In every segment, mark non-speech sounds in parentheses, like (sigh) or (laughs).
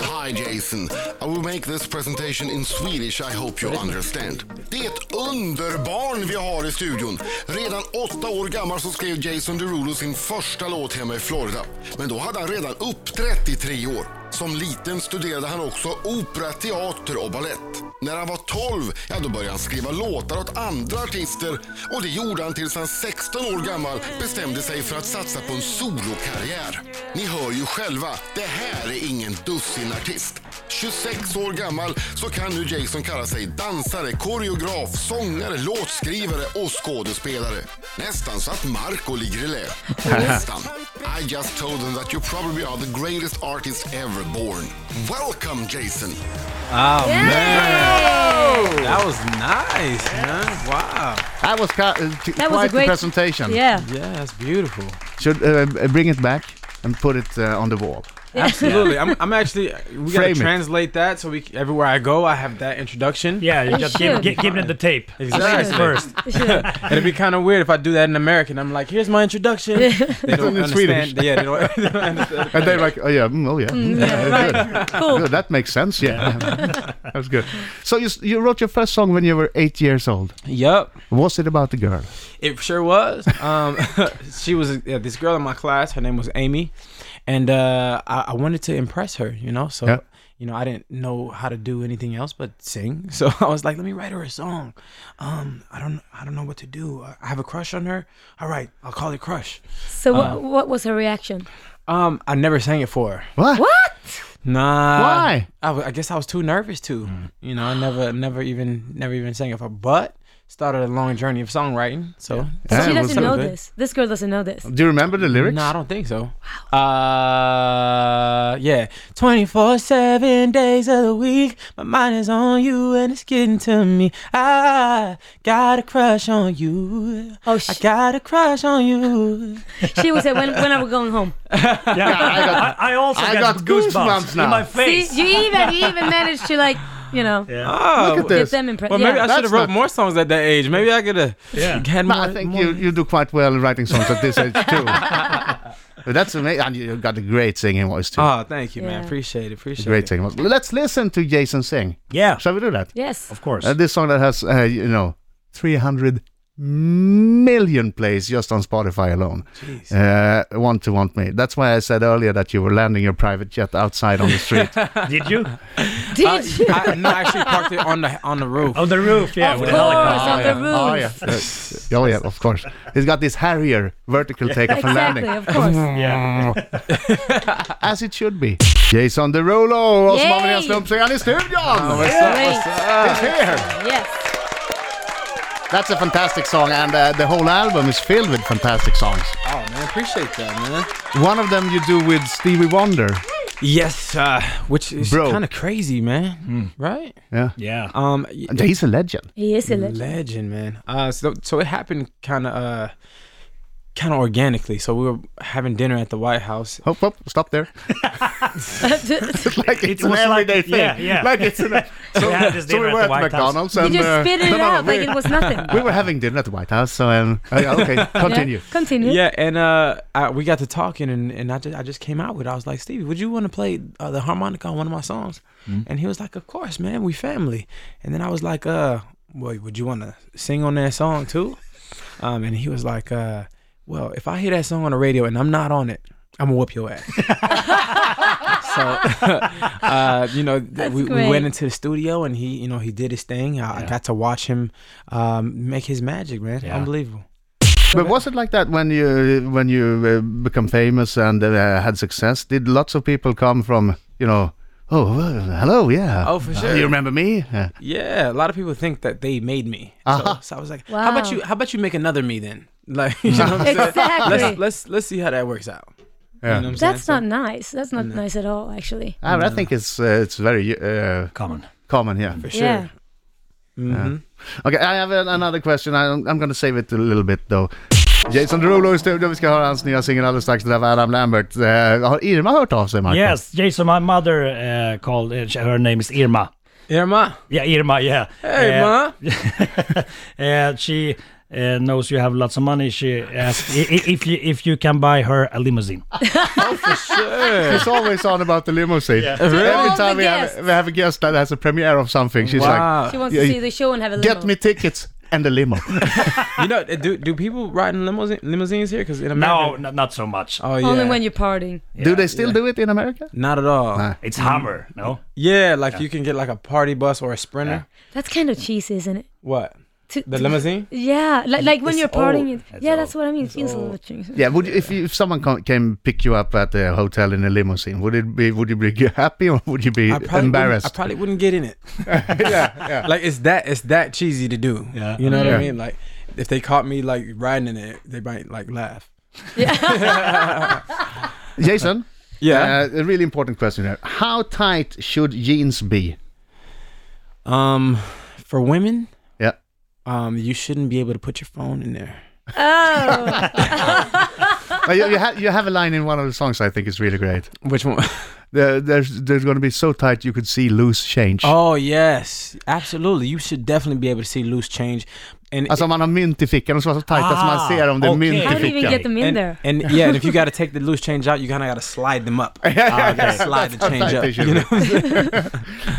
Hi Jason. I will make this presentation in Swedish. I hope you understand. Det är ett underbarn vi har i studion. Redan åtta år gammal så skrev Jason Derulo sin första låt hemma i Florida. Men då hade han redan uppträtt i tre år. Som liten studerade han också opera, teater och ballett. När han var 12, ja då började han skriva låtar åt andra artister och det gjorde han tills han 16 år gammal bestämde sig för att satsa på en solokarriär. Ni hör ju själva, det här är ingen dussinartist. 26 år gammal så kan nu Jason kalla sig dansare, koreograf, sångare, låtskrivare och skådespelare. Nästan så att Marco ligger i lä. Nästan. I just told them that you probably are the greatest artist ever born. Welcome Jason! Oh man, that was nice, man. Wow. That was ca- uh, t- That quite was a great the presentation. Yeah. Yeah, that's beautiful. Should uh, b- bring it back and put it uh, on the wall. Absolutely. I'm, I'm actually. We gotta Frame it. translate that so we c- everywhere I go, I have that introduction. Yeah, you just give, should. give, give them the tape. Exactly. First. It'd be kind of weird if I do that in American. I'm like, here's my introduction. They don't in Swedish. understand. Yeah, they don't, they don't (laughs) understand. And they're like, oh yeah, mm, oh yeah, Yeah, good. good. That makes sense. Yeah, (laughs) that was good. So you s- you wrote your first song when you were eight years old. Yup. Was it about the girl? It sure was. Um, (laughs) she was yeah, this girl in my class. Her name was Amy, and uh, I, I wanted to impress her, you know. So Yeah. you know, I didn't know how to do anything else but sing. (laughs) So I was like, let me write her a song. Um, I don't, I don't know what to do. I I have a crush on her. All right, I'll call it crush. So what, what was her reaction? Um, I never sang it for her. What? Nah. Why? Mm. I, w- I guess I was too nervous to. You know, I never, never even, never even sang it for. But started a long journey of songwriting. So Yeah, she it was doesn't know good. this. This girl doesn't know this. Do you remember the lyrics? No, I don't think so. Uh, yeah. 24 7 days of the week. My mind is on you and it's getting to me. I got a crush on you. Oh, I sh- got a crush on you. she would say, when, when are we going home? Yeah, I, got, I, also I got, got goosebumps, goosebumps now. in my See, face. you even, you even managed to like, you know, Oh, Look at get this. them impressed. well, maybe yeah. I should That's have wrote not- more songs at that age. Maybe I could have Yeah. had But more. I think more- you, you do quite well writing songs at this age too. But (laughs) That's amazing. And you got a great singing voice too. Oh, thank you, man. Yeah. Appreciate it. Appreciate great it. singing voice. Let's listen to Jason sing. yeah, Shall we do that? yes. of course. Uh, this song that has, uh, you know, 300 million plays just on Spotify alone. Jeez. Uh, want to Want Me. That's why I said earlier that you were landing your private jet outside on the (laughs) street. Oh, Did you? Did Uh, you? I, no, I actually parked it on the on the roof. On the roof, yeah, of with course, a helicopter. on the roof. oh, yeah. Uh, oh, yeah, of course. He's got this Harrier vertical takeoff and Exactly, landing. of course. As it should be. Jason Derulo och så har vi Yay! Oh, den slumpsångaren i studion! What's up? What's up? He's here! Yes. That's a fantastic song and uh, the whole album is filled with fantastic songs. Oh man, appreciate that, man. One of them you do with Stevie Wonder. Yes, uh, which is Bro. Hmm. kind of crazy, man. Right? Yeah. Yeah. Um, y- Yeah, He's a legend. He is a (laughs) legend. legend, man. Uh, so so it happened kind of uh, kind of organically. So we were having dinner at the White House. Hopp, hopp, stop there. Did (laughs) like it's an was like- everyday thing. yeah, yeah. Like (laughs) it's an, So, we had this so dinner we at were the at White House. McDonald's and you uh, spit it no, no, out we, like it was nothing? we were having dinner at the White House. So um, oh, yeah, okay, continue. (laughs) Yeah. Continue. Yeah, and uh, I, we got to talking, and, and I just I just came out with. it. I was like, Stevie, would you want to play uh, the harmonica on one of my songs? And he was like, Of course, man. We family. And then I was like, Uh, boy, would you want to sing on that song too? Um, and he was like, uh, Well, if I hear that song on the radio and I'm not on it, I'm gonna whoop your (laughs) ass. so, (laughs) uh, you know, th- we, we great. went into the studio and he, you know, he did his thing. I, I got to watch him um, make his magic, man. Unbelievable. But was it like that when you when you uh, become famous and uh, had success? Did lots of people come from you know? Oh, well, hello, yeah. Oh, for Uh, sure. You remember me? Yeah. Yeah, a lot of people think that they made me. Uh-huh. So, so I was like, how about Wow. you? How about you make another me then? (laughs) Like, you know what I'm saying? Exactly. Let's let's let's see how that works out. You know what I'm That's saying? not nice. That's not nice at all, actually. I, I think it's uh, it's very uh, Common. common, yeah. So, for sure. Yeah. Mhm. Okej, I have an- another question. I'm, I'm gonna save it a little bit though. Jason Derulo i studion, vi ska höra hans nya singel alldeles strax. Det där var Adam Lambert. Eh, har Irma hört av sig, Marco? Yes, Jason, my mother uh, called, uh, her name is Irma. Irma. Yeah, Irma, yeah. Hey, (laughs) Uh, Ma. uh, she uh, uh, knows you have lots of money, she asked i- i- if you if you can buy her a limousine. She's always on about the limousine. Every All time the we have, guests. we have a guest that has a premiere of something, she's Wow. (laughs) She wants Yeah, to see you- the show and have a like, limo. "Get me tickets and a (laughs) limo." you know, eh, do do people ride in limousine, limousines here? Because in No, America, n- not so much. oh yeah, Only when you're partying. do they still do it in America? not at all. Nah. It's Hammer, no? Yeah, like you can get like a party bus or a sprinter. That's kind of cheesy, isn't it? What To- the (laughs) to- limousine? Yeah, like, like when It's you're partying. old. it- It's yeah, old. that's what I mean. It feels a little (laughs) cheesy. Yeah, would you, if you, if someone come, came pick you up at the hotel in a limousine, would it be would you be (laughs) happy or would you be I probably wouldn't- I embarrassed? probably wouldn't get in it. (laughs) yeah, yeah. (laughs) like it's that it's that cheesy to do. Yeah. You know what Yeah. I mean? Like if they caught me like riding in it, they might like laugh. Jason, Yeah. uh, a really important question here: How tight should jeans be? um for women, Yeah, um you shouldn't be able to put your phone in there. Oh, Well, you, you, ha- you have a line in one of the songs I think is really great. Which one? There, there's there's going to be so tight you could see loose change. (laughs) oh yes. Absolutely. You should definitely be able to see loose change. And Alltså man har mynt i fickan och så, så tajt att man Ah, ser om det är okej. mynt how i do you even get fickan. them in and, (laughs) there? and yeah, and if you got to take the loose change out, you kind of got to slide them (laughs) up. Uh, you got to slide the change tight they up. should You be. know? what I'm saying?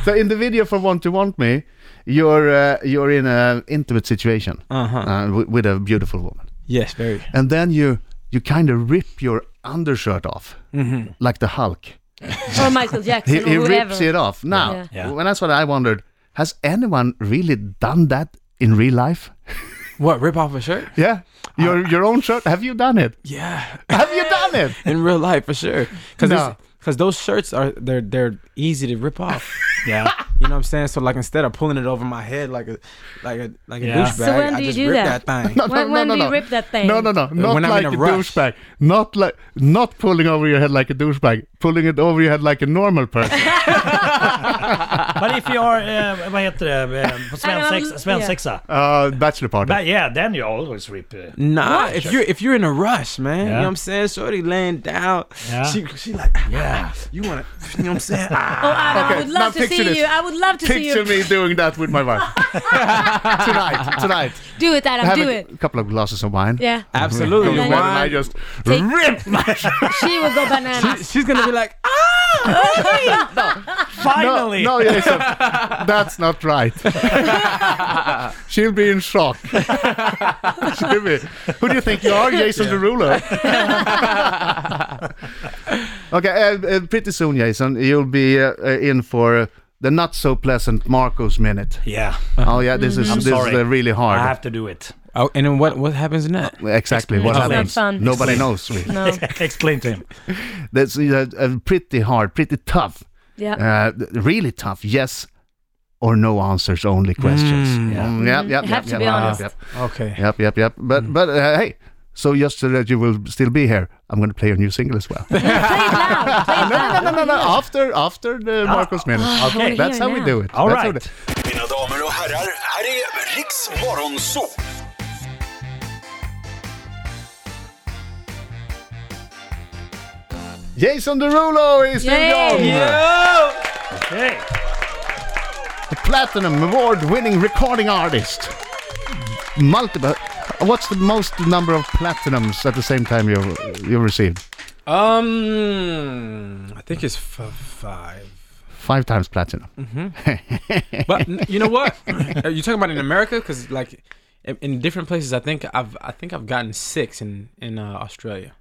So in the video for Want to Want Me, you're uh, you're in an intimate situation Ah. Uh-huh. uh, wi- with a beautiful woman. (laughs) Yes, very. and then you you kind of rip your undershirt off like the hulk Or Michael Jackson he, Mm-hmm. or he whoever. rips it off now Yeah. Yeah. when that's what i wondered has anyone really done that in real life What rip off a shirt? yeah your your own shirt have you done it Yeah, have you done it (laughs) in real life for sure. Because No. those shirts are they're they're easy to rip off. Yeah. You know what I'm saying? So like instead of pulling it over my head like a like a like a Yeah. douchebag, So when I do you just do ripped that? thing. (laughs) no, (laughs) When- when do you rip that thing? No, no, no. Not When I'm like in a, a rush. douchebag. Not like not pulling over your head like a douchebag. Pulling it over your head like a normal person. (laughs) But if you are, eh, vad heter det, eh, på svensexa? yeah. svensexa. Uh, bachelor party. But yeah, then you always rip. eh. Nah, if you're if you're in a rush, man, you know Yeah. what I'm saying? Shorty laying down, Yeah. she she like, "Ah, Yeah. you wanna, you know what I'm saying? Ah. (laughs) Oh, Adam, Okay, I would now love to picture see this. you. I would love to see Picture you. me doing that with my (laughs) wife tonight. Tonight. Do it, Adam. have Do a it. couple of glasses of wine. Yeah. Absolutely. Go to Yeah. bed and I Why? just Take- rip my (laughs) She will go bananas. She's gonna be like, ah, Finally! No, Jason, that's not (laughs) right. She'll be in shock. (laughs) She'll be. Who do you think you are, Jason (laughs) Derulo? okay, uh, uh, pretty soon, Jason, you'll be uh, uh, in for uh, the not so pleasant Marcos minute. Yeah, Oh yeah, this is this Uh-huh. Mm-hmm. sorry. is uh, really I hard. have to do it. (laughs) oh, and then what what happens next? exactly what It's not happens. fun. Nobody knows. Really. No. Explain to him. That's uh, uh, pretty hard, pretty tough. Yeah. uh, th- really tough yes or no answers only questions. yeah. Mm, yep, yep, You yep, Mm-hmm. have to yep, be yep, honest. Yep, Okay. yep, yep, yep. But but uh, hey, so just so that you will still be here, I'm going to play your new single (laughs) as well. no, Play it loud. Play it no, loud. no, no, no. After after the Marcos minute. Okay. That's hear how we now. do it. All That's how we right. do- Mina damer och herrar, här är Riks Morgonzoo! Jason Derulo is Yay. studion! Okay. The platinum award-winning recording artist. Multiple. What's the most number of platinums at the same time you you received? Um, I think it's f- five. Five times platinum. But n- you know what? Are you talking about in America? Because like in, in different places, I think I've I think I've gotten six in in uh, Australia.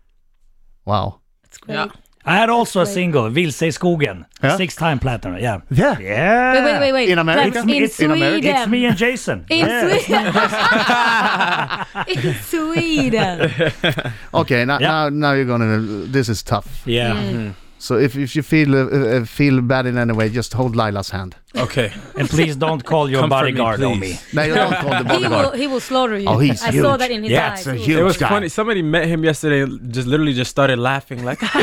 Wow. It's great. Yeah. I had also a single, Vilse i skogen. Yeah. Six time platinum, yeah. Yeah. Yeah! Wait, wait, wait, wait. In America? That's in It's- in Sweden. America? It's me and Jason. (laughs) In Yeah. (laughs) Sweden. in Sweden. Okay, now, Yeah. now now you're gonna. This is tough. Yeah. Mm-hmm. So if if you feel uh, uh, feel bad in any way, just hold Lila's hand. Okay. And please don't call your Comfort me, bodyguard on me. please. No, you don't hold the He will, bodyguard. he will slaughter you. Oh, he's I saw huge. that in his Yeah, eyes. it's a He will- huge- It was guy. funny. Somebody met him yesterday. and Just literally just started laughing. Like (laughs)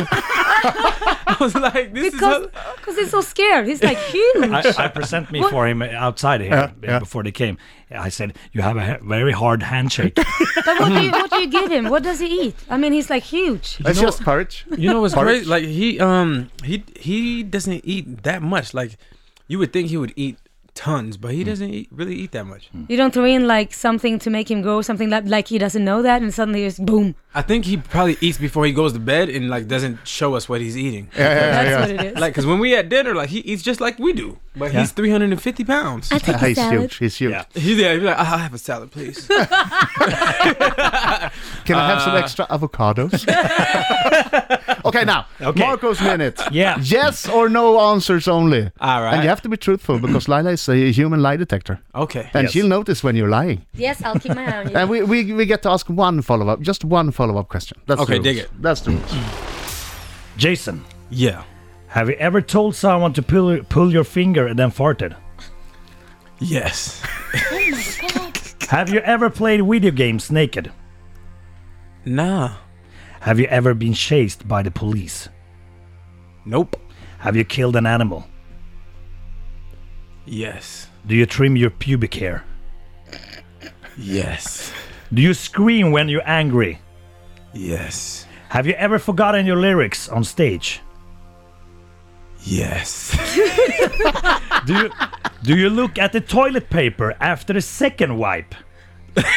I was like, this Because is. A- because he's so scared. He's (laughs) like huge. I, I present (laughs) me for him outside here Yeah, yeah. before they came. I said, "You have a he- very hard handshake." But what do, (laughs) you, what do you give him? What does he eat? I mean, he's like huge. It's just courage. you know what's crazy? Like he um he he doesn't eat that much. Like you would think he would eat tons, but Mm. he doesn't eat, really eat that much. You don't throw in like something to make him grow, something like, like he doesn't know that, and suddenly it's boom. I think he probably eats before he goes to bed and like doesn't show us what he's eating. That's what it is. Like, cause when we at dinner, like he eats just like we do, but he's 350 pounds. I take a He's salad. huge. He's huge. Yeah. He's there, he's like, I'll have a salad, please. Can I have Uh, some extra (laughs) avocados? okay, now Okay. Marco's minute. Yeah. Yes or no answers only. All right. And you have to be truthful because Lila is a human lie detector, (laughs) Okay. and Yes. she'll notice when you're lying. Yes, I'll keep my eye on you. And we, we, we get to ask one follow up, just one follow up question. That's the Okay, dig rules. it. That's the rules. Jason, Yeah. have you ever told someone to pull, pull your finger and then farted? Yes. Have you ever played video games naked? Nah. Have you ever been chased by the police? Nope. Have you killed an animal? Yes. Do you trim your pubic hair? Yes. Do you scream when you're angry? Yes. Have you ever forgotten your lyrics on stage? Yes. (laughs) Do you, do you look at the toilet paper after the second wipe? do you?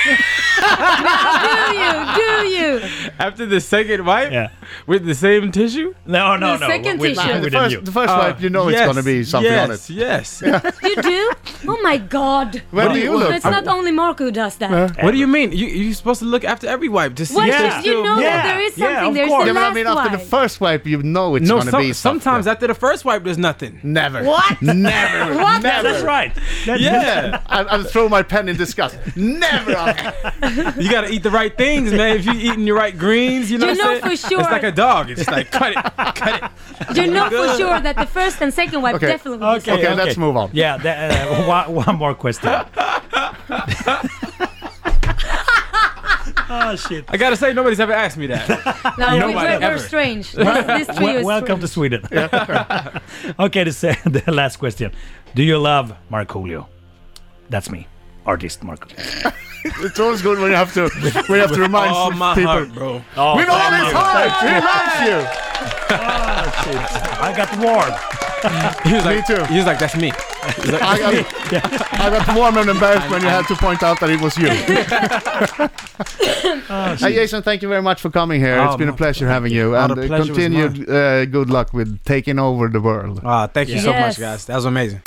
Do you? After the second wipe, Yeah. with the same tissue. No, no, The no. second we, tissue. We, The didn't first, you. the first wipe, you know it's Uh, Yes, going to be something on it. yes, (laughs) Yes. You do? Oh my god. When do you But look? it's not only Marco who does that. What do you mean? You you're supposed to look after every wipe to see. Well, if there's you Yeah. still know Yeah. that there is Yeah, something. of There's course. the Yeah, but last I mean, after the wipe. first wipe, you know it's No, going to some- be something. sometimes after the first wipe, there's nothing. Never. What? Never. What? Never. That's right. That- Yeah, I, I'll throw my pen in disgust. Never. you gotta eat the right things, man. If you eating your right greens, you know, You what I'm know saying? for sure. It's like a dog. It's just like cut it, cut it. (laughs) You know for sure that the first and second wipe Okay. definitely. is- Okay, let's move on. Yeah, that, uh, (laughs) one, one (laughs) more question. oh, shit. I gotta say, nobody's ever asked me (laughs) that. No, we- Nobody we're, ever. we're strange. This, this trio Wel- is welcome to strange. Sweden. (laughs) okay, the, se- the last question. Do you love Marcolio? That's me, artist Marcolio. It's always good when you have to when you have to remind Oh my people. heart, bro. Oh, With all his heart, he loves you. I got warm. He was Me like, too. He was like, that's me. I got, (laughs) I got warm and embarrassed when you had to point out that it was you. hey Jason, thank you very much for coming here. it's Ah, Oh, been a my- pleasure having you, Oh, and the uh, pleasure was continued uh, good luck with taking over the world. Ah, thank you so much, Yes. guys. That was amazing.